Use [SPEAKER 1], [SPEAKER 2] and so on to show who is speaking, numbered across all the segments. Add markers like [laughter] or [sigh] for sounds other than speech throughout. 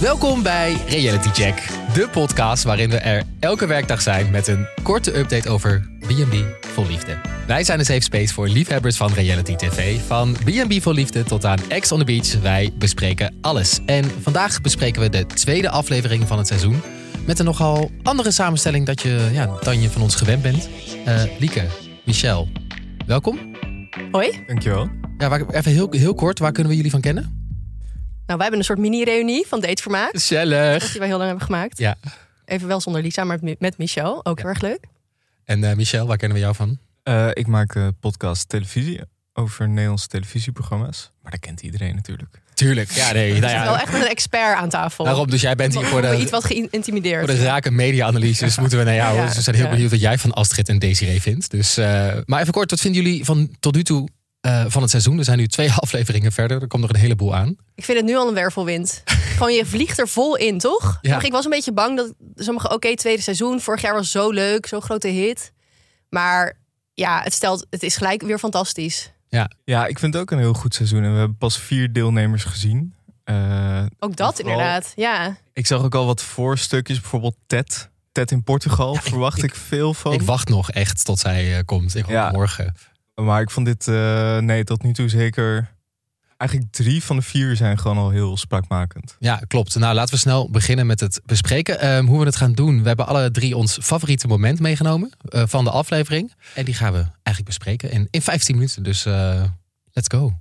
[SPEAKER 1] Welkom bij Reality Check, de podcast waarin we er elke werkdag zijn met een korte update over B&B Vol Liefde. Wij zijn een safe space voor liefhebbers van reality tv. Van B&B Vol Liefde tot aan Ex on the Beach, wij bespreken alles. En vandaag bespreken we de tweede aflevering van het seizoen met een nogal andere samenstelling dat je, ja, dan je van ons gewend bent. Eh, Lieke, Michel, welkom.
[SPEAKER 2] Hoi. Nou,
[SPEAKER 3] Dankjewel.
[SPEAKER 1] Ja, waar, even heel, heel kort, waar kunnen we jullie van kennen?
[SPEAKER 2] Nou, wij hebben een soort mini-reunie van Datevermaak.
[SPEAKER 1] Gezellig.
[SPEAKER 2] Die wij heel lang hebben gemaakt.
[SPEAKER 1] Dus- Ja,
[SPEAKER 2] Even wel zonder Lisa, maar met- met Michel. Ook heel erg leuk.
[SPEAKER 1] en eh, Michel, waar kennen we jou van?
[SPEAKER 3] Eh, ik maak eh, podcast televisie over Nederlandse televisieprogramma's. Maar dat kent iedereen natuurlijk.
[SPEAKER 1] Tuurlijk. Ja, nee. Nou
[SPEAKER 2] Ja.
[SPEAKER 1] ja,
[SPEAKER 2] Wel echt met een expert aan tafel.
[SPEAKER 1] daarom, dus jij bent hier voor
[SPEAKER 2] Iets
[SPEAKER 1] de,
[SPEAKER 2] wat geïntimideerd.
[SPEAKER 1] voor de rake media-analyses. Moeten we naar jou.
[SPEAKER 2] Ja,
[SPEAKER 1] dus we zijn heel
[SPEAKER 2] ja.
[SPEAKER 1] benieuwd wat jij van Astrid en Desiree vindt. Dus, eh, maar even kort, wat vinden jullie van tot nu toe eh, van het seizoen? Er zijn nu twee [laughs] afleveringen verder. Er komt nog een heleboel aan.
[SPEAKER 2] Ik vind het nu al een wervelwind. Gewoon, je vliegt er vol in, toch?
[SPEAKER 1] Ja.
[SPEAKER 2] Maar Ik was een beetje bang dat sommige, oké, tweede seizoen. Vorig jaar was zo leuk, zo'n grote hit. Maar ja, het, stelt, het is gelijk weer fantastisch.
[SPEAKER 3] Ja, ik vind het ook een heel goed seizoen. En we hebben pas vier deelnemers gezien. Eh,
[SPEAKER 2] Ook dat
[SPEAKER 3] Vooral-
[SPEAKER 2] inderdaad, ja.
[SPEAKER 3] ik zag ook al wat voorstukjes. Bijvoorbeeld Ted. Ted in Portugal. Verwacht ik, veel van.
[SPEAKER 1] Ik wacht nog echt tot zij eh, komt. Ik hoop
[SPEAKER 3] Ja.
[SPEAKER 1] morgen.
[SPEAKER 3] maar ik vond dit... eh, nee, tot nu toe zeker... Eigenlijk drie van de vier zijn gewoon al heel spraakmakend.
[SPEAKER 1] Ja, klopt. Nou, laten we snel beginnen met het bespreken. Ehm, hoe we het gaan doen. We hebben alle drie ons favoriete moment meegenomen eh, van de aflevering. En die gaan we eigenlijk bespreken in, in 15 minuten. Dus eh, let's go.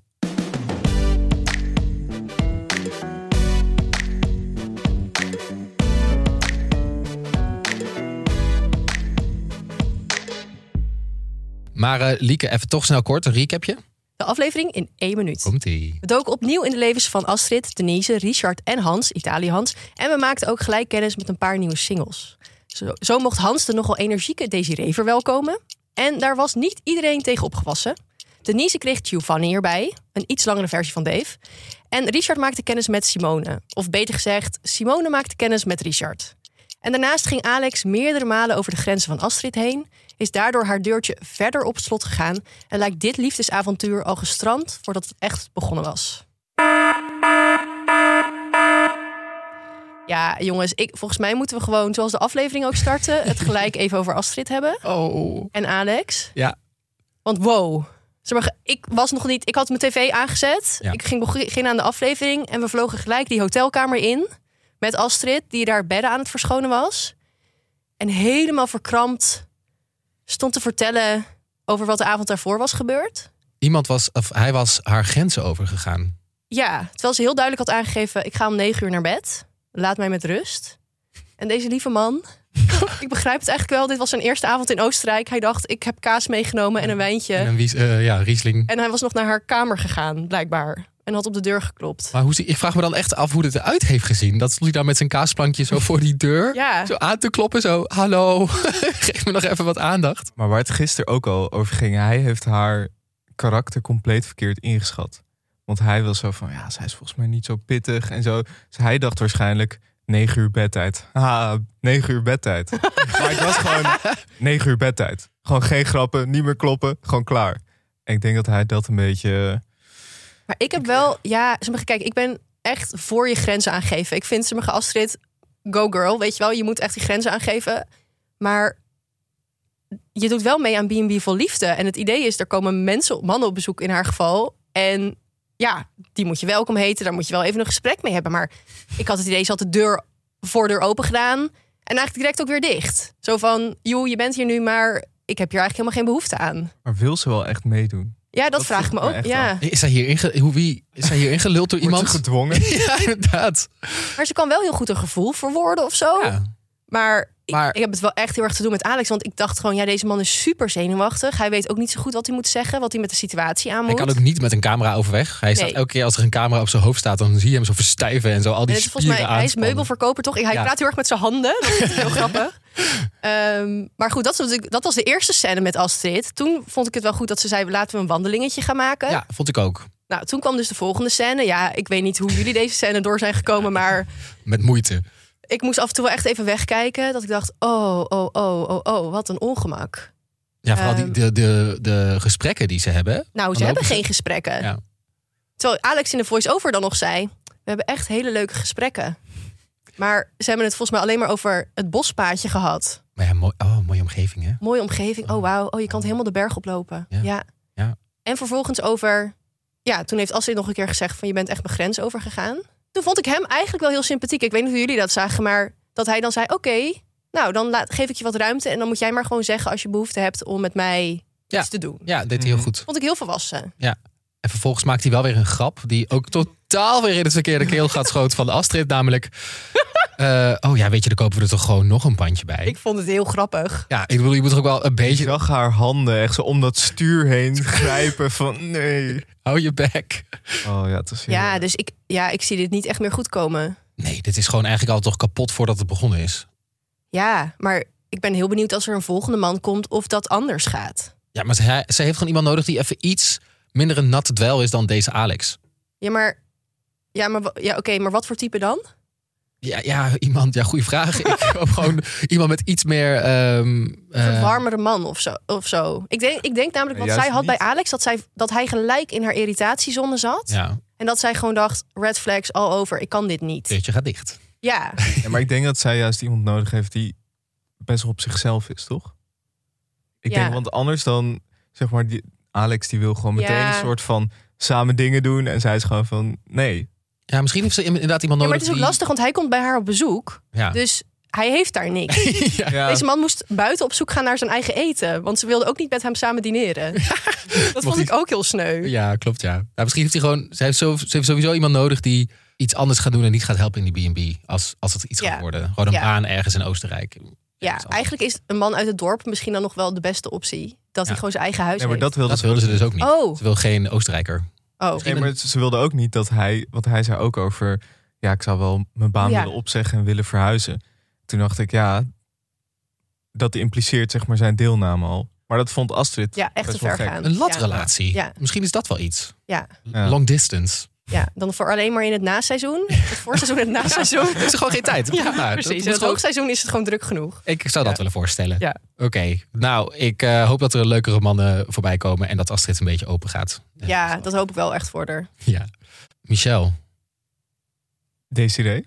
[SPEAKER 1] Maar eh, Lieke, even toch snel kort een recapje.
[SPEAKER 2] De aflevering in één minuut.
[SPEAKER 1] Komt-ie.
[SPEAKER 2] We doken opnieuw in de levens van Astrid, Denise, Richard en Hans, Italië Hans. En we maakten ook gelijk kennis met een paar nieuwe singles. Zo, zo mocht Hans de nogal energieke Desiree verwelkomen. En daar was niet iedereen tegen opgewassen. Denise kreeg Giovanni erbij, een iets langere versie van Dave. En Richard maakte kennis met Simone. Of beter gezegd, Simone maakte kennis met Richard. En daarnaast ging Alex meerdere malen over de grenzen van Astrid heen, is daardoor haar deurtje verder op slot gegaan en lijkt dit liefdesavontuur al gestrand voordat het echt begonnen was. Ja, jongens, ik, volgens mij moeten we gewoon, zoals de aflevering ook starten, het gelijk even over Astrid hebben
[SPEAKER 1] Oh.
[SPEAKER 2] en Alex.
[SPEAKER 1] Ja.
[SPEAKER 2] Want wow. Zeg maar, ik was nog niet. Ik had mijn tv aangezet.
[SPEAKER 1] Ja.
[SPEAKER 2] Ik ging beginnen aan de aflevering. En we vlogen gelijk die hotelkamer in. Met Astrid, die daar bedden aan het verschonen was. En helemaal verkrampt stond te vertellen over wat de avond daarvoor was gebeurd.
[SPEAKER 1] Iemand was, of hij was haar grenzen overgegaan.
[SPEAKER 2] Ja, terwijl ze heel duidelijk had aangegeven: ik ga om negen uur naar bed. Laat mij met rust. En deze lieve man, [laughs] ik begrijp het eigenlijk wel. Dit was zijn eerste avond in Oostenrijk. Hij dacht: ik heb kaas meegenomen en een wijntje.
[SPEAKER 1] En een wies, eh, ja, Riesling.
[SPEAKER 2] En hij was nog naar haar kamer gegaan, blijkbaar. En had op de deur geklopt.
[SPEAKER 1] Maar hoe, zie- ik vraag me dan echt af hoe het eruit heeft gezien. Dat stond hij dan met zijn kaasplankje zo voor die deur.
[SPEAKER 2] Ja,
[SPEAKER 1] Zo aan te kloppen, zo. Hallo, [laughs] geef me nog even wat aandacht.
[SPEAKER 3] Maar waar het gisteren ook al over ging, hij heeft haar karakter compleet verkeerd ingeschat. Want hij was zo van, ja, zij is volgens mij niet zo pittig en zo. Dus hij dacht waarschijnlijk, negen uur bedtijd. Ha, negen uur bedtijd. maar het was gewoon negen uur bedtijd. Gewoon geen grappen, niet meer kloppen, gewoon klaar. En ik denk dat hij dat een beetje...
[SPEAKER 2] maar ik heb wel... Ja, sommige, kijk, ik ben echt voor je grenzen aangeven. Ik vind sommige Astrid, go girl, weet je wel. Je moet echt die grenzen aangeven. Maar je doet wel mee aan B&B vol liefde. En het idee is, er komen mensen, mannen op bezoek in haar geval. En ja, die moet je welkom heten. Daar moet je wel even een gesprek mee hebben. Maar ik had het idee, ze had de deur, voordeur open gedaan. En eigenlijk direct ook weer dicht. Zo van, joh, je bent hier nu, maar ik heb hier eigenlijk helemaal geen behoefte aan.
[SPEAKER 3] Maar wil ze wel echt meedoen?
[SPEAKER 2] Ja, dat,
[SPEAKER 3] Dat
[SPEAKER 2] vraag ik
[SPEAKER 3] vroeg
[SPEAKER 2] me
[SPEAKER 3] ik me
[SPEAKER 2] ook.
[SPEAKER 3] echt
[SPEAKER 2] Ja.
[SPEAKER 3] af.
[SPEAKER 1] Is hij hier, inge hoe, wie, is hij hier ingeluld door
[SPEAKER 3] Wordt ze
[SPEAKER 1] iemand? [laughs]
[SPEAKER 3] gedwongen?
[SPEAKER 1] Ja, inderdaad.
[SPEAKER 2] Maar ze kan wel heel goed een gevoel verwoorden of zo.
[SPEAKER 1] Ja.
[SPEAKER 2] Maar, ik-
[SPEAKER 1] Maar-
[SPEAKER 2] Ik, heb het wel echt heel erg te doen met Alex. Want ik dacht gewoon, ja, deze man is super zenuwachtig. Hij weet ook niet zo goed wat hij moet zeggen. Wat hij met de situatie aan
[SPEAKER 1] Hij
[SPEAKER 2] moet.
[SPEAKER 1] kan ook niet met een camera overweg. Hij staat
[SPEAKER 2] Nee.
[SPEAKER 1] elke keer als er een camera op zijn hoofd staat, dan zie je hem zo verstijven en zo al
[SPEAKER 2] En
[SPEAKER 1] die
[SPEAKER 2] het is Dus volgens mij,
[SPEAKER 1] spieren
[SPEAKER 2] hij is
[SPEAKER 1] aanspannen.
[SPEAKER 2] meubelverkoper, toch? Hij
[SPEAKER 1] Ja.
[SPEAKER 2] praat heel erg met zijn handen. Dat is
[SPEAKER 1] [laughs]
[SPEAKER 2] heel grappig. Ehm, maar goed, dat, is natuurlijk- dat was de eerste scène met Astrid. Toen vond ik het wel goed dat ze zei, laten we een wandelingetje gaan maken.
[SPEAKER 1] Ja, vond ik ook.
[SPEAKER 2] Nou, toen kwam dus de volgende scène. Ja, ik weet niet hoe jullie deze scène door zijn gekomen, maar...
[SPEAKER 1] Met moeite.
[SPEAKER 2] ik moest af en toe wel echt even wegkijken. Dat ik dacht, oh, oh, oh, oh, oh, wat een ongemak.
[SPEAKER 1] Ja, vooral die,
[SPEAKER 2] Ehm.
[SPEAKER 1] de, de, de gesprekken die ze hebben.
[SPEAKER 2] Nou, ze
[SPEAKER 1] Dan
[SPEAKER 2] hebben
[SPEAKER 1] lopen ze-
[SPEAKER 2] geen gesprekken.
[SPEAKER 1] Ja.
[SPEAKER 2] Terwijl Alex in de voice-over dan nog zei... we hebben echt hele leuke gesprekken. Maar ze hebben het volgens mij alleen maar over het bospaadje gehad.
[SPEAKER 1] Maar ja, mooi, oh, mooie omgeving, hè?
[SPEAKER 2] Mooie omgeving. Oh, wauw. Oh, je kan het helemaal de berg oplopen.
[SPEAKER 1] Ja.
[SPEAKER 2] Ja.
[SPEAKER 1] Ja.
[SPEAKER 2] En vervolgens over... Ja, toen heeft Astrid nog een keer gezegd van... je bent echt mijn grens overgegaan. Toen vond ik hem eigenlijk wel heel sympathiek. Ik weet niet hoe jullie dat zagen, maar dat hij dan zei... oké, nou, dan laat, geef ik je wat ruimte... en dan moet jij maar gewoon zeggen als je behoefte hebt... om met mij
[SPEAKER 1] Ja.
[SPEAKER 2] iets te doen.
[SPEAKER 1] Ja, deed hij
[SPEAKER 2] Mm.
[SPEAKER 1] heel
[SPEAKER 3] Mhm.
[SPEAKER 1] goed.
[SPEAKER 2] Vond ik heel volwassen.
[SPEAKER 1] En vervolgens maakt hij wel weer een grap die ook totaal weer in het verkeerde
[SPEAKER 2] [laughs]
[SPEAKER 1] keelgat schoot van Astrid. Namelijk, eh, oh ja, weet je, dan kopen we er toch gewoon nog een pandje bij.
[SPEAKER 2] Ik vond het heel grappig.
[SPEAKER 1] Ja, ik bedoel, je moet toch ook wel een
[SPEAKER 3] Je
[SPEAKER 1] beetje...
[SPEAKER 3] zag haar handen echt zo om dat stuur heen grijpen van nee.
[SPEAKER 1] Hou je bek.
[SPEAKER 3] Oh ja, het is heel-
[SPEAKER 2] Ja, dus ik, ja, ik zie dit niet echt meer goed komen.
[SPEAKER 1] Nee, dit is gewoon eigenlijk al toch kapot voordat het begonnen is.
[SPEAKER 2] Ja, maar ik ben heel benieuwd als er een volgende man komt... of dat anders gaat.
[SPEAKER 1] Ja, maar ze, ze heeft gewoon iemand nodig die even iets minder een natte dweil is dan deze Alex.
[SPEAKER 2] Ja, maar... Ja, maar, wa- ja oké, maar wat voor type dan?
[SPEAKER 1] Ja, ja iemand, ja, goede vraag.
[SPEAKER 2] [laughs]
[SPEAKER 1] Ik hoop gewoon iemand met iets meer... ehm,
[SPEAKER 2] Een
[SPEAKER 1] eh,
[SPEAKER 2] soort warmere man of zo. Of zo. Ik, denk, ik denk namelijk,
[SPEAKER 3] Nee,
[SPEAKER 2] want zij
[SPEAKER 3] juist
[SPEAKER 2] had bij
[SPEAKER 3] niet.
[SPEAKER 2] Alex dat, zij, dat hij gelijk in haar irritatiezone zat.
[SPEAKER 1] eh, ja,
[SPEAKER 2] En dat zij gewoon dacht, red flags all over, ik kan dit niet.
[SPEAKER 1] deurtje gaat dicht.
[SPEAKER 2] Ja,
[SPEAKER 3] Ja, maar ik denk dat zij juist iemand nodig heeft die best wel op zichzelf is, toch? Ik
[SPEAKER 2] Ja.
[SPEAKER 3] denk, want anders dan, zeg maar, die, Alex die wil gewoon meteen
[SPEAKER 2] Ja.
[SPEAKER 3] een soort van samen dingen doen. En zij is gewoon van, nee.
[SPEAKER 1] Ja, misschien heeft ze inderdaad iemand nodig
[SPEAKER 2] Ja, maar het is ook
[SPEAKER 1] die-
[SPEAKER 2] lastig, want hij komt bij haar op bezoek.
[SPEAKER 1] Ja.
[SPEAKER 2] Dus hij heeft daar niks.
[SPEAKER 1] [laughs] ja.
[SPEAKER 2] Deze man moest buiten op zoek gaan naar zijn eigen eten. Want ze wilde ook niet met hem samen dineren. dat vond
[SPEAKER 1] hij-
[SPEAKER 2] ik ook heel sneu.
[SPEAKER 1] Ja, klopt ja. Nou, misschien heeft hij gewoon, ze heeft, zo, ze heeft sowieso iemand nodig die iets anders gaat doen en niet gaat helpen in die B&B. Als, als het iets
[SPEAKER 2] Ja.
[SPEAKER 1] gaat worden. Gewoon een
[SPEAKER 2] Ja.
[SPEAKER 1] baan ergens in Oostenrijk.
[SPEAKER 2] Ja, eigenlijk is een man uit het dorp misschien dan nog wel de beste optie.
[SPEAKER 1] Ja.
[SPEAKER 2] Dat hij gewoon zijn eigen huis
[SPEAKER 3] Nee, maar
[SPEAKER 2] heeft.
[SPEAKER 3] dat wilde
[SPEAKER 1] Dat
[SPEAKER 3] ze.
[SPEAKER 1] wilden ze dus ook niet.
[SPEAKER 2] Oh,
[SPEAKER 1] Ze wil geen Oostenrijker.
[SPEAKER 2] oh.
[SPEAKER 3] Nee, maar ze wilde ook niet dat hij, want hij zei ook over, ja, ik zou wel mijn baan
[SPEAKER 2] Ja.
[SPEAKER 3] willen opzeggen en willen verhuizen. Toen dacht ik, ja, dat impliceert zeg maar zijn deelname al. Maar dat vond Astrid.
[SPEAKER 2] Ja, echt te
[SPEAKER 3] Best wel
[SPEAKER 2] ver
[SPEAKER 3] gek.
[SPEAKER 2] gaan.
[SPEAKER 1] Een
[SPEAKER 2] Ja.
[SPEAKER 1] latrelatie.
[SPEAKER 2] Ja.
[SPEAKER 1] Misschien is dat wel iets.
[SPEAKER 2] Ja.
[SPEAKER 3] Ja.
[SPEAKER 1] Long
[SPEAKER 2] [laughs]
[SPEAKER 1] distance.
[SPEAKER 2] Ja, dan voor alleen maar in het naseizoen. Het voorseizoen en het naseizoen.
[SPEAKER 1] Is er gewoon geen tijd.
[SPEAKER 2] Ja,
[SPEAKER 1] Nou, dat moet
[SPEAKER 2] precies. In het
[SPEAKER 1] gewoon-
[SPEAKER 2] hoogseizoen is het gewoon druk genoeg.
[SPEAKER 1] Ik zou dat
[SPEAKER 3] Ja.
[SPEAKER 1] willen voorstellen.
[SPEAKER 2] Ja.
[SPEAKER 1] Oké, nou, ik eh, hoop dat er leukere mannen voorbij komen en dat Astrid een beetje open gaat.
[SPEAKER 2] Ja, dat hoop ik wel echt voor haar.
[SPEAKER 1] [laughs] ja. Michel,
[SPEAKER 2] [laughs]
[SPEAKER 3] Desiree.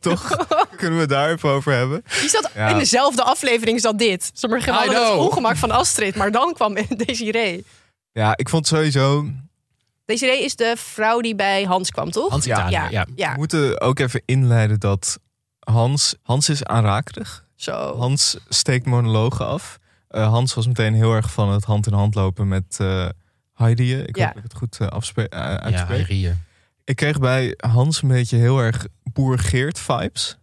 [SPEAKER 3] Toch? Kunnen we het daar even over hebben?
[SPEAKER 2] Die zat
[SPEAKER 3] Ja.
[SPEAKER 2] in dezelfde aflevering zat dit. Ze maar
[SPEAKER 1] I
[SPEAKER 2] hadden het
[SPEAKER 1] know.
[SPEAKER 2] ongemak van Astrid, maar dan kwam [laughs] Desiree.
[SPEAKER 3] Ja, ik vond sowieso.
[SPEAKER 2] Desiree is de vrouw die bij Hans kwam, toch?
[SPEAKER 1] Hans Italië. Ja.
[SPEAKER 2] ja, ja.
[SPEAKER 3] We moeten ook even inleiden dat Hans. Hans is aanrakerig.
[SPEAKER 2] zo.
[SPEAKER 3] Hans steekt monologen af. Eh, Hans was meteen heel erg van het hand in hand lopen met eh Heidi. Ik
[SPEAKER 2] Ja.
[SPEAKER 3] hoop dat ik het goed eh, afspe- eh,
[SPEAKER 1] Ja,
[SPEAKER 3] uitspreek.
[SPEAKER 1] Rieën.
[SPEAKER 3] ik kreeg bij Hans een beetje heel erg boer Geert vibes.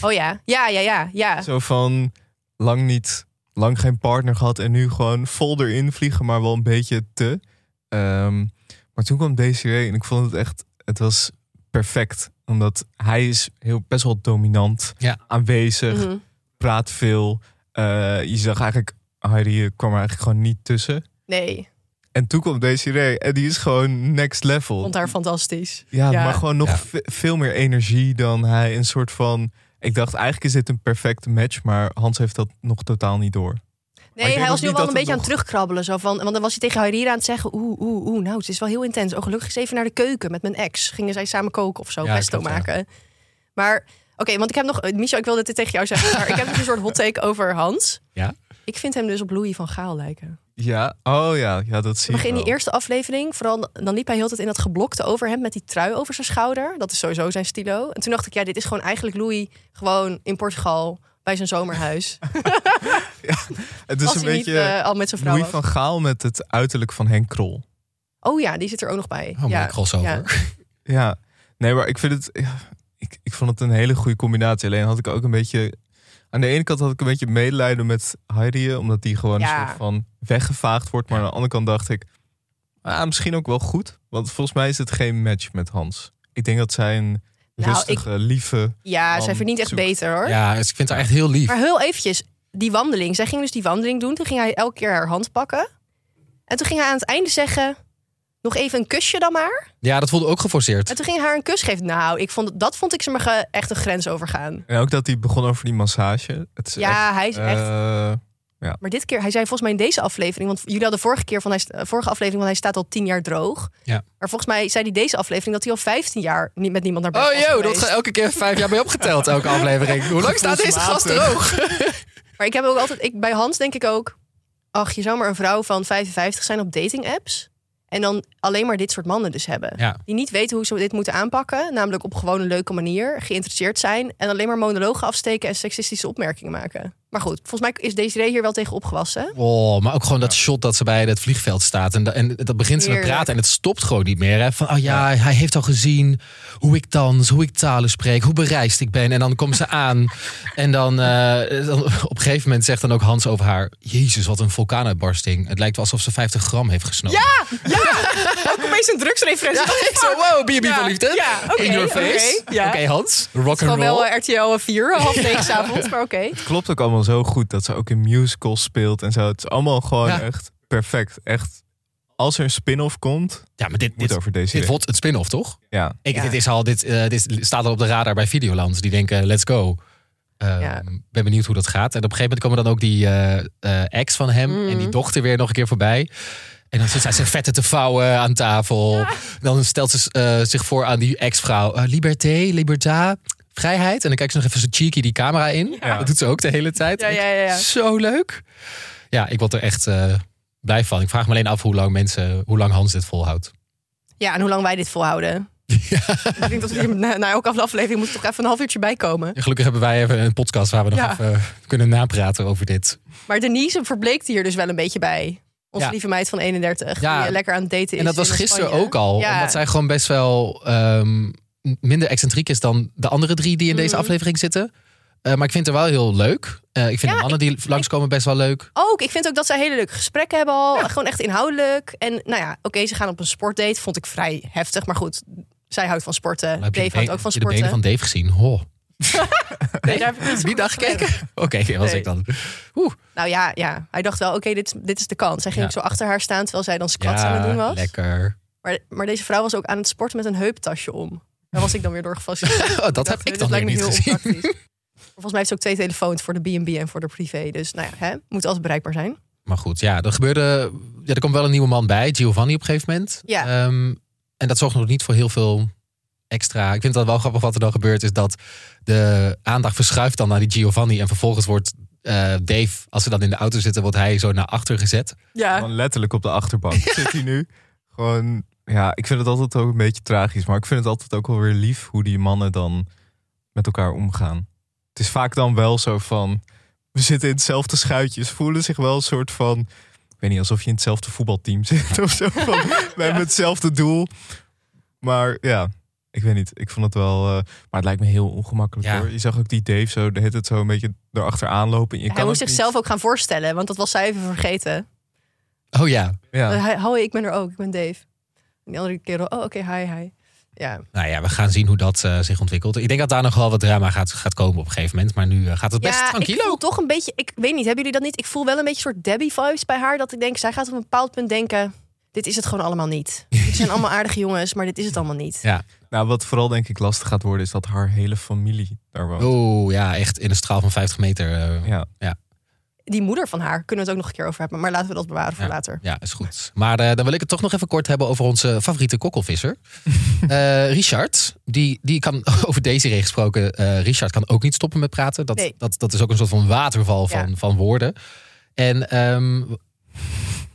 [SPEAKER 2] Oh ja, ja, ja, ja. ja.
[SPEAKER 3] Zo van lang niet, lang geen partner gehad en nu gewoon vol erin vliegen, maar wel een beetje te. Ehm, maar toen kwam Desiree en ik vond het echt, het was perfect. Omdat hij is heel, best wel dominant,
[SPEAKER 1] Ja.
[SPEAKER 3] aanwezig,
[SPEAKER 2] Mhm.
[SPEAKER 3] praat veel. Eh, je zag eigenlijk, Harry eh, kwam er eigenlijk gewoon niet tussen.
[SPEAKER 2] Nee,
[SPEAKER 3] En toen kwam Desiree en die is gewoon next level.
[SPEAKER 2] vond haar fantastisch.
[SPEAKER 3] Ja,
[SPEAKER 2] Ja.
[SPEAKER 3] maar gewoon nog
[SPEAKER 1] Ja.
[SPEAKER 3] ve- veel meer energie dan hij. Een soort van. Ik dacht eigenlijk is dit een perfecte match, maar Hans heeft dat nog totaal niet door. ik
[SPEAKER 2] Nee,
[SPEAKER 3] denk
[SPEAKER 2] hij was
[SPEAKER 3] ook
[SPEAKER 2] nu
[SPEAKER 3] niet
[SPEAKER 2] wel een
[SPEAKER 3] dat
[SPEAKER 2] beetje aan
[SPEAKER 3] het
[SPEAKER 2] het terugkrabbelen. Zo van, want dan was hij tegen Harira aan het zeggen... oeh, oeh, oeh, nou, het is wel heel intens. Oh, gelukkig is even naar de keuken met mijn ex. Gingen zij samen koken of zo,
[SPEAKER 1] Ja,
[SPEAKER 2] pesto
[SPEAKER 1] klopt, ja.
[SPEAKER 2] maken. Maar, oké, want ik heb nog... eh, Michel, ik wilde dit tegen jou zeggen, maar ik heb nog een soort hot take over Hans.
[SPEAKER 1] Ja?
[SPEAKER 2] Ik vind hem dus op Louis van Gaal lijken.
[SPEAKER 3] Ja, oh ja, ja dat zie
[SPEAKER 2] Maar
[SPEAKER 3] ik.
[SPEAKER 2] in die
[SPEAKER 3] wel.
[SPEAKER 2] eerste aflevering, vooral dan liep hij heel de tijd in dat geblokte overhemd... met die trui over zijn schouder. Dat is sowieso zijn stilo. En toen dacht ik, ja, dit is gewoon eigenlijk Louis... gewoon in Portugal bij zijn
[SPEAKER 3] [laughs]
[SPEAKER 2] zomerhuis.
[SPEAKER 3] Het is
[SPEAKER 2] als
[SPEAKER 3] een
[SPEAKER 2] hij niet
[SPEAKER 3] beetje
[SPEAKER 2] eh, al met zijn vrouw
[SPEAKER 3] Louis
[SPEAKER 2] was.
[SPEAKER 3] van Gaal met het uiterlijk van Henk Krol.
[SPEAKER 2] Oh ja, die zit er ook nog bij.
[SPEAKER 1] Oh, mooie
[SPEAKER 2] ja.
[SPEAKER 1] crossover.
[SPEAKER 2] Ja.
[SPEAKER 3] Ja, nee, maar ik vind het. ja, ik, ik vond het een hele goede combinatie. Alleen had ik ook een beetje. Aan de ene kant had ik een beetje medelijden met Heidi, omdat die gewoon
[SPEAKER 2] Ja.
[SPEAKER 3] een soort van weggevaagd wordt. Maar aan de andere kant dacht ik, ah, misschien ook wel goed. Want volgens mij is het geen match met Hans. Ik denk dat zij een
[SPEAKER 2] Nou,
[SPEAKER 3] rustige, lieve.
[SPEAKER 2] Ja,
[SPEAKER 3] Man
[SPEAKER 2] zij verdient echt
[SPEAKER 3] zoekt.
[SPEAKER 2] beter hoor.
[SPEAKER 1] Ja, dus ik vind haar echt heel lief.
[SPEAKER 2] Maar heel eventjes, die wandeling. Zij ging dus die wandeling doen. Toen ging hij elke keer haar hand pakken. En toen ging hij aan het einde zeggen... Nog even een kusje dan maar.
[SPEAKER 1] Ja, dat voelde ook geforceerd.
[SPEAKER 2] En toen ging hij haar een kus geven. Nou, ik vond, dat vond ik ze maar ge- echt een grens overgaan.
[SPEAKER 3] En ook dat hij begon over die massage. Het is echt,
[SPEAKER 2] Ja, hij is echt...
[SPEAKER 3] eh, Ja.
[SPEAKER 2] Maar dit keer, hij zei volgens mij in deze aflevering, want jullie hadden vorige keer van hij, st- eh, vorige aflevering, want hij staat al tien jaar droog.
[SPEAKER 1] Ja.
[SPEAKER 2] Maar volgens mij zei hij deze aflevering dat hij al 15 jaar niet met niemand naar bed
[SPEAKER 1] Oh
[SPEAKER 2] was
[SPEAKER 1] joh, dat
[SPEAKER 2] geweest.
[SPEAKER 1] gaat elke keer vijf jaar mee opgeteld, elke [laughs] aflevering. Hoe lang staat deze gast droog? [laughs]
[SPEAKER 2] Maar ik heb ook altijd, ik, bij Hans denk ik ook, ach, je zou maar een vrouw van 55 zijn op dating apps. En dan alleen maar dit soort mannen dus hebben.
[SPEAKER 1] Ja.
[SPEAKER 2] Die niet weten hoe ze dit moeten aanpakken. Namelijk op gewoon een leuke manier. Geïnteresseerd zijn. En alleen maar monologen afsteken en seksistische opmerkingen maken. Maar goed, volgens mij is Desiree hier wel tegen opgewassen.
[SPEAKER 1] Oh, maar ook gewoon dat shot dat ze bij het vliegveld staat. En, da- en dat begint ze met
[SPEAKER 2] Heerlijk.
[SPEAKER 1] praten en het stopt gewoon niet meer. Hè? Van, oh ja, hij heeft al gezien hoe ik dans, hoe ik talen spreek, hoe bereisd ik ben. En dan komt ze aan. En dan, eh, dan [laughs] op een gegeven moment zegt dan ook Hans over haar... Jezus, wat een vulkaanuitbarsting. Het lijkt wel alsof ze 50 gram heeft gesnoven. Ja!
[SPEAKER 2] Ook opeens een drugsreferentie.
[SPEAKER 1] ik zo, wow, B&B Oh, van liefde.
[SPEAKER 2] Ja, oké,
[SPEAKER 1] In your
[SPEAKER 2] oké,
[SPEAKER 1] face. Oké,
[SPEAKER 2] ja.
[SPEAKER 1] Hans. Rock and
[SPEAKER 2] Gewoon wel
[SPEAKER 1] roll.
[SPEAKER 2] eh, RTL 4, half negen 's avonds, maar oké.
[SPEAKER 3] Het klopt ook allemaal zo goed dat ze ook in musicals speelt en zo. Het is allemaal gewoon
[SPEAKER 1] Ja.
[SPEAKER 3] echt perfect. Echt, als er een spin-off komt,
[SPEAKER 1] Ja, maar dit,
[SPEAKER 3] moet
[SPEAKER 1] dit,
[SPEAKER 3] over deze.
[SPEAKER 1] dit wordt het spin-off, toch?
[SPEAKER 3] ja.
[SPEAKER 1] Ik,
[SPEAKER 2] Ja.
[SPEAKER 1] dit, is al, dit, eh, dit staat al op de radar bij Videoland. Die denken, let's go. Ehm,
[SPEAKER 2] Ja.
[SPEAKER 1] Ben benieuwd hoe dat gaat. En op een gegeven moment komen dan ook die eh, eh, ex van hem
[SPEAKER 2] Mhm.
[SPEAKER 1] en die dochter weer nog een keer voorbij. En dan zit zij zijn vetten te vouwen aan tafel. Dan stelt ze eh, zich voor aan die ex-vrouw. Eh, liberté, liberta, vrijheid. En dan kijkt ze nog even zo cheeky die camera in.
[SPEAKER 3] Ja.
[SPEAKER 1] Dat doet ze ook de hele tijd.
[SPEAKER 2] Ja, ja, ja, ja.
[SPEAKER 1] Zo leuk. Ja, ik word er echt eh, blij van. Ik vraag me alleen af hoe lang mensen, hoe lang Hans dit volhoudt.
[SPEAKER 2] Ja, en hoe lang wij dit volhouden. Ik denk dat we hier na, na elke aflevering moeten toch even een half uurtje bijkomen.
[SPEAKER 1] Ja, Gelukkig hebben wij even een podcast waar we nog
[SPEAKER 2] Ja.
[SPEAKER 1] even eh, kunnen napraten over dit.
[SPEAKER 2] Maar Denise verbleekte hier dus wel een beetje bij. Onze
[SPEAKER 1] Ja.
[SPEAKER 2] lieve meid van 31,
[SPEAKER 1] Ja.
[SPEAKER 2] die lekker aan het daten is.
[SPEAKER 1] En dat was
[SPEAKER 2] in
[SPEAKER 1] gisteren
[SPEAKER 2] Spanje.
[SPEAKER 1] ook al,
[SPEAKER 2] Ja.
[SPEAKER 1] omdat zij gewoon best wel ehm, minder excentriek is dan de andere drie die in deze
[SPEAKER 2] Mhm.
[SPEAKER 1] aflevering zitten. Eh, maar ik vind het wel heel leuk. Eh, ik vind
[SPEAKER 2] Ja,
[SPEAKER 1] de mannen die langskomen best wel leuk.
[SPEAKER 2] Ook, ik vind ook dat zij hele leuke gesprekken hebben al. Gewoon echt inhoudelijk. En nou ja, oké, ze gaan op een sportdate. Vond ik vrij heftig, maar goed. Zij houdt van sporten.
[SPEAKER 1] Dan heb je
[SPEAKER 2] Dave
[SPEAKER 1] de been-
[SPEAKER 2] houdt ook
[SPEAKER 1] heb
[SPEAKER 2] van
[SPEAKER 1] je de
[SPEAKER 2] sporten.
[SPEAKER 1] benen van Dave gezien. Ho.
[SPEAKER 2] Nee, daar heb ik niet zo
[SPEAKER 1] Die dag
[SPEAKER 2] goed van.
[SPEAKER 1] gekeken? [laughs] Oké, dat was
[SPEAKER 2] Nee.
[SPEAKER 1] ik dan.
[SPEAKER 2] Nou ja, ja, hij dacht wel, oké, dit, is- dit is de kans. Hij ging
[SPEAKER 1] Ja.
[SPEAKER 2] ook zo achter haar staan, terwijl zij dan squats aan het doen
[SPEAKER 1] Ja,
[SPEAKER 2] was.
[SPEAKER 1] lekker. [laughs]
[SPEAKER 2] Maar, maar deze vrouw was ook aan het sporten met een heuptasje om. Daar was ik dan weer door gefascineerd.
[SPEAKER 1] Oh, [laughs] dat
[SPEAKER 2] dacht,
[SPEAKER 1] heb ik
[SPEAKER 2] dit
[SPEAKER 1] dan weer
[SPEAKER 2] lijkt me
[SPEAKER 1] niet
[SPEAKER 2] heel
[SPEAKER 1] gezien.
[SPEAKER 2] onpraktisch. Maar Volgens mij heeft ze ook twee telefoons voor de B&B en voor de privé. Dus nou ja, hè, moet altijd bereikbaar zijn.
[SPEAKER 1] Maar goed, ja, er gebeurde. Ja, er komt wel een nieuwe man bij, Giovanni op een gegeven moment.
[SPEAKER 2] Ja.
[SPEAKER 1] Ehm, en dat zorgt nog niet voor heel veel extra. Ik vind dat wel grappig wat er dan gebeurt, is dat de aandacht verschuift dan naar die Giovanni. En vervolgens wordt eh, Dave, als ze dan in de auto zitten, wordt hij zo naar achter gezet.
[SPEAKER 2] Ja,
[SPEAKER 3] Gewoon letterlijk op de
[SPEAKER 2] [laughs]
[SPEAKER 3] achterbank zit hij nu. Gewoon, ja, ik vind het altijd ook een beetje tragisch. Maar ik vind het altijd ook wel weer lief hoe die mannen dan met elkaar omgaan. Het is vaak dan wel zo van, we zitten in hetzelfde schuitje. Ze voelen zich wel een soort van, ik weet niet, alsof je in hetzelfde voetbalteam [laughs] zit of
[SPEAKER 2] [laughs]
[SPEAKER 3] zo. Van, we hebben hetzelfde doel. Maar ja, ik weet niet. Ik vond het wel, eh, maar het lijkt me heel ongemakkelijk
[SPEAKER 1] Ja.
[SPEAKER 3] hoor. Je zag ook die Dave zo, de het het zo een beetje erachteraan lopen. En Je
[SPEAKER 2] hij
[SPEAKER 3] kan
[SPEAKER 2] moest
[SPEAKER 3] ook
[SPEAKER 2] zichzelf ook gaan voorstellen, want dat was zij even vergeten.
[SPEAKER 1] Oh ja,
[SPEAKER 3] niet- Ja.
[SPEAKER 2] Eh, Hi, hoi, ik ben er ook, ik ben Dave. En die andere kerel, oh oké, hi, hi. Ja,
[SPEAKER 1] nou ja, we gaan zien hoe dat eh, zich ontwikkelt. Ik denk dat daar nog wel wat drama gaat, gaat komen op een gegeven moment. Maar nu eh, gaat het best
[SPEAKER 2] ja ik
[SPEAKER 1] tranquilo.
[SPEAKER 2] voel toch een beetje, ik weet niet, hebben jullie dat niet? Ik voel wel een beetje een soort Debbie-vibes bij haar. Dat ik denk, zij gaat op een bepaald punt denken, dit is het gewoon allemaal
[SPEAKER 1] [laughs]
[SPEAKER 2] niet. Dit zijn allemaal aardige jongens, maar dit is het allemaal niet.
[SPEAKER 1] Ja.
[SPEAKER 3] Nou, wat vooral denk ik lastig gaat worden, is dat haar hele familie daar woont.
[SPEAKER 1] Oh ja, echt in een straal van 50 meter. eh,
[SPEAKER 3] Ja.
[SPEAKER 2] Die moeder van haar kunnen we het ook nog een keer over hebben. Maar laten we dat bewaren voor
[SPEAKER 1] Ja.
[SPEAKER 2] later.
[SPEAKER 1] Ja, is goed. Maar eh, dan wil ik het toch nog even kort hebben over onze favoriete
[SPEAKER 3] [laughs]
[SPEAKER 1] kokkelvisser. Eh, Richard, die, die kan, [laughs] over deze regen gesproken, eh, Richard kan ook niet stoppen met praten. Dat,
[SPEAKER 2] Nee.
[SPEAKER 1] dat, dat is ook een soort van waterval van,
[SPEAKER 2] Ja.
[SPEAKER 1] van woorden. En ehm,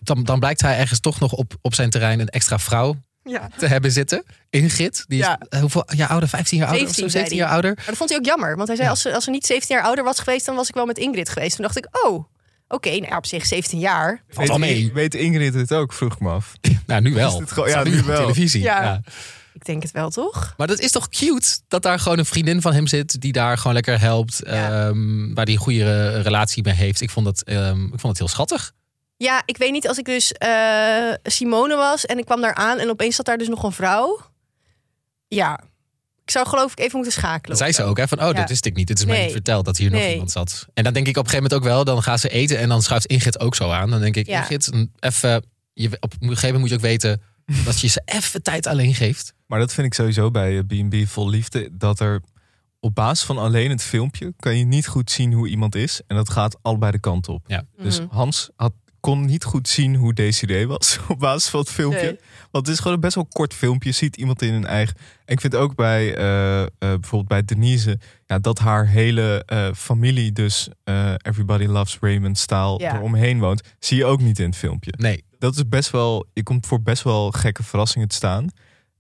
[SPEAKER 1] dan, dan blijkt hij ergens toch nog op, op zijn terrein een extra vrouw
[SPEAKER 2] Ja. Maar
[SPEAKER 1] te hebben zitten. Ingrid, die is
[SPEAKER 2] Ja.
[SPEAKER 1] eh, hoeveel jaar ouder? 15 jaar ouder? of zo?
[SPEAKER 2] 17 zei
[SPEAKER 1] 17 jaar ouder?
[SPEAKER 2] dat vond hij ook jammer. Want hij zei,
[SPEAKER 1] Ja.
[SPEAKER 2] als, ze, als ze niet 17 jaar ouder was geweest, dan was ik wel met Ingrid geweest. Toen dacht ik, oh, oké, nou ja, op zich 17 jaar.
[SPEAKER 1] Valt al
[SPEAKER 3] Weet-
[SPEAKER 1] mee.
[SPEAKER 3] Weet Ingrid het ook, vroeg ik me af.
[SPEAKER 1] Nou, nu wel.
[SPEAKER 3] Is dit gewoon- ja,
[SPEAKER 1] Staat
[SPEAKER 3] nu
[SPEAKER 1] op
[SPEAKER 3] wel.
[SPEAKER 1] televisie.
[SPEAKER 2] Ja.
[SPEAKER 1] ja.
[SPEAKER 2] Ik denk het wel, toch?
[SPEAKER 1] Maar dat is toch cute dat daar gewoon een vriendin van hem zit die daar gewoon lekker helpt,
[SPEAKER 2] Ja.
[SPEAKER 1] ehm, waar die een goede eh, relatie mee heeft. Ik vond dat, ehm, ik vond het heel schattig.
[SPEAKER 2] Ja, ik weet niet, als ik dus eh, Simone was en ik kwam daar aan en opeens zat daar dus nog een vrouw. Ja, ik zou geloof ik even moeten schakelen.
[SPEAKER 1] Dat zei ze ook, hè? Van, oh,
[SPEAKER 2] Ja.
[SPEAKER 1] dat wist ik niet. Dit is mij
[SPEAKER 2] Nee.
[SPEAKER 1] niet verteld dat hier nog
[SPEAKER 2] Nee.
[SPEAKER 1] iemand zat. En dan denk ik op een gegeven moment ook wel, dan gaan ze eten en dan schuift Ingrid ook zo aan. Dan denk ik,
[SPEAKER 2] Ja.
[SPEAKER 1] Ingrid, een- even, je, op een gegeven moment moet je ook weten dat je ze even tijd alleen geeft.
[SPEAKER 3] Maar dat vind ik sowieso bij eh, B&B vol liefde. Dat er op basis van alleen het filmpje kan je niet goed zien hoe iemand is. En dat gaat allebei de kant op.
[SPEAKER 1] Ja.
[SPEAKER 3] Dus
[SPEAKER 2] Mhm.
[SPEAKER 3] Hans had, kon niet goed zien hoe DCD was [laughs] op basis van het filmpje.
[SPEAKER 2] Nee.
[SPEAKER 3] Want het is gewoon een best wel kort filmpje. Je ziet iemand in een eigen... En ik vind ook bij eh, eh, bijvoorbeeld bij Denise... Ja, dat haar hele eh, familie dus eh, Everybody Loves Raymond staal
[SPEAKER 2] Ja.
[SPEAKER 3] eromheen woont. Zie je ook niet in het filmpje
[SPEAKER 1] Nee,
[SPEAKER 3] dat is best wel. Je komt voor best wel gekke verrassingen te staan.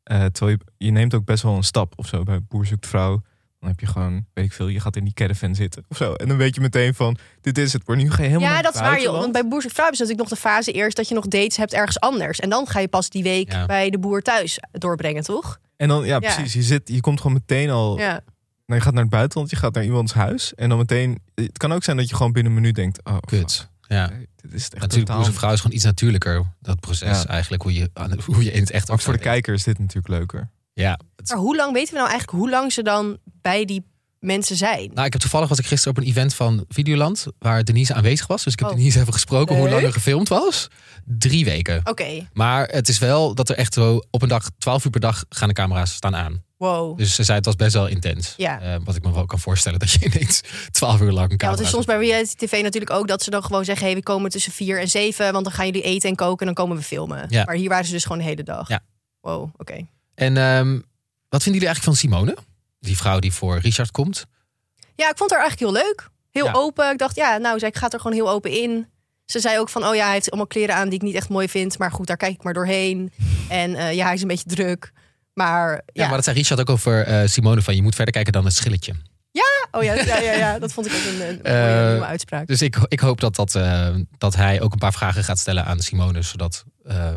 [SPEAKER 3] Eh, terwijl je, je neemt ook best wel een stap of zo. Bij Boer zoekt vrouw. Dan heb je gewoon, weet ik veel, je gaat in die caravan zitten of zo. En dan weet je meteen van, dit is het. Maar nu ga je helemaal
[SPEAKER 2] Ja,
[SPEAKER 3] naar
[SPEAKER 2] dat is waar. Joh. Want
[SPEAKER 3] buitenland.
[SPEAKER 2] bij Boer zoekt vrouw is natuurlijk nog de fase eerst dat je nog dates hebt ergens anders. En dan ga je pas die week
[SPEAKER 1] Ja.
[SPEAKER 2] bij de boer thuis doorbrengen, toch?
[SPEAKER 3] En dan, ja,
[SPEAKER 2] Ja.
[SPEAKER 3] precies. Je, zit, je komt gewoon meteen al...
[SPEAKER 2] Ja.
[SPEAKER 3] Nou, je gaat naar het buitenland, je gaat naar iemands huis. En dan meteen... Het kan ook zijn dat je gewoon binnen een minuut denkt... Oh,
[SPEAKER 1] kut. Ja.
[SPEAKER 3] fuck, dit is het echt
[SPEAKER 1] Natuurlijk,
[SPEAKER 3] totaal...
[SPEAKER 1] boerse vrouw is gewoon iets natuurlijker. Dat proces
[SPEAKER 3] Ja.
[SPEAKER 1] eigenlijk, hoe je, aan- hoe je in het echt
[SPEAKER 3] Ook voor de
[SPEAKER 1] afstaat.
[SPEAKER 3] kijker is dit natuurlijk leuker.
[SPEAKER 1] Ja. het-
[SPEAKER 2] Maar hoe lang weten we nou eigenlijk hoe lang ze dan bij die mensen zijn?
[SPEAKER 1] Nou, ik heb toevallig was ik gisteren op een event van Videoland waar Denise aanwezig was. Dus ik heb
[SPEAKER 2] Oh.
[SPEAKER 1] Denise even gesproken hoe lang er
[SPEAKER 2] Leuk.
[SPEAKER 1] gefilmd was. Drie weken.
[SPEAKER 2] Oké,
[SPEAKER 1] Maar het is wel dat er echt zo op een dag, twaalf uur per dag, gaan de camera's staan aan.
[SPEAKER 2] wow.
[SPEAKER 1] Dus ze zei het was best wel intens.
[SPEAKER 2] Ja.
[SPEAKER 1] Eh, wat ik me wel kan voorstellen dat je [laughs] ineens twaalf uur lang een
[SPEAKER 2] Ja, want
[SPEAKER 1] camera...
[SPEAKER 2] het is soms bij reality tv natuurlijk ook dat ze dan gewoon zeggen... hé, we komen tussen vier en zeven, want dan gaan jullie eten en koken... en dan komen we filmen.
[SPEAKER 1] Ja.
[SPEAKER 2] Maar hier waren ze dus gewoon de hele dag.
[SPEAKER 1] Ja.
[SPEAKER 2] Wow, oké.
[SPEAKER 1] En ehm, wat vinden jullie eigenlijk van Simone? Die vrouw die voor Richard komt.
[SPEAKER 2] Ja, ik vond haar eigenlijk heel leuk. Heel
[SPEAKER 1] Ja.
[SPEAKER 2] open. Ik dacht, ja, nou, zij gaat er gewoon heel open in. Ze zei ook van, oh ja, hij heeft allemaal kleren aan die ik niet echt mooi vind. Maar goed, daar kijk ik maar doorheen. En eh, ja, hij is een beetje druk. Maar ja,
[SPEAKER 1] Ja, maar dat zei Richard ook over eh, Simone van je moet verder kijken dan het schilletje.
[SPEAKER 2] oh ja, ja, ja, ja, dat vond ik ook een,
[SPEAKER 1] [laughs]
[SPEAKER 2] een
[SPEAKER 1] Eh,
[SPEAKER 2] mooie nieuwe uitspraak.
[SPEAKER 1] Dus ik, ik hoop dat, dat, eh, dat hij ook een paar vragen gaat stellen aan Simone. Zodat eh,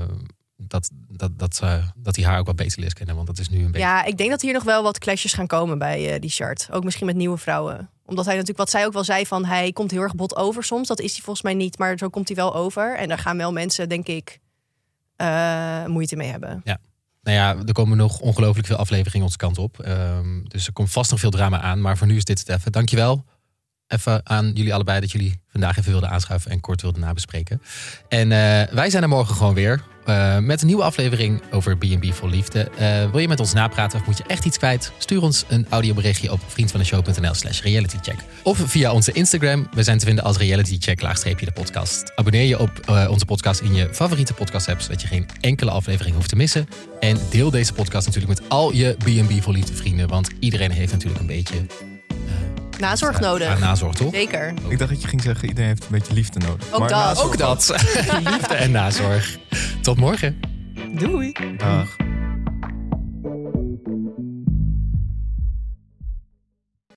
[SPEAKER 1] dat, dat, dat, eh, dat hij haar ook wat beter leert kennen. Want dat is nu een beetje...
[SPEAKER 2] Ja, ik denk dat hier nog wel wat clashes gaan komen bij eh, Richard. Ook misschien met nieuwe vrouwen. Omdat hij natuurlijk, wat zij ook wel zei, van hij komt heel erg bot over soms. Dat is hij volgens mij niet, maar zo komt hij wel over. En daar gaan wel mensen, denk ik, eh, moeite mee hebben.
[SPEAKER 1] Nou ja, er komen nog ongelooflijk veel afleveringen onze kant op. Ehm, dus er komt vast nog veel drama aan. Maar voor nu is dit het even. Dankjewel even aan jullie allebei dat jullie vandaag even wilden aanschuiven. En kort wilden nabespreken. En eh, wij zijn er morgen gewoon weer. eh, met een nieuwe aflevering over B&B voor Liefde. Eh, wil je met ons napraten of moet je echt iets kwijt? Stuur ons een audioberichtje op vriendvandeshow.nl slash realitycheck. Of via onze Instagram. We zijn te vinden als realitycheck laagstreepje de podcast. Abonneer je op eh, onze podcast in je favoriete podcast app... zodat je geen enkele aflevering hoeft te missen. En deel deze podcast natuurlijk met al je B&B voor Liefde vrienden. Want iedereen heeft natuurlijk een beetje
[SPEAKER 2] Nazorg
[SPEAKER 1] eh,
[SPEAKER 2] nodig.
[SPEAKER 1] aan nazorg, toch?
[SPEAKER 2] Zeker.
[SPEAKER 3] Ik dacht dat je ging zeggen, iedereen heeft een beetje liefde nodig.
[SPEAKER 2] Ook dat.
[SPEAKER 3] naast-
[SPEAKER 1] [laughs] Ook dat. Liefde en nazorg. Tot morgen.
[SPEAKER 2] Doei.
[SPEAKER 3] Dag.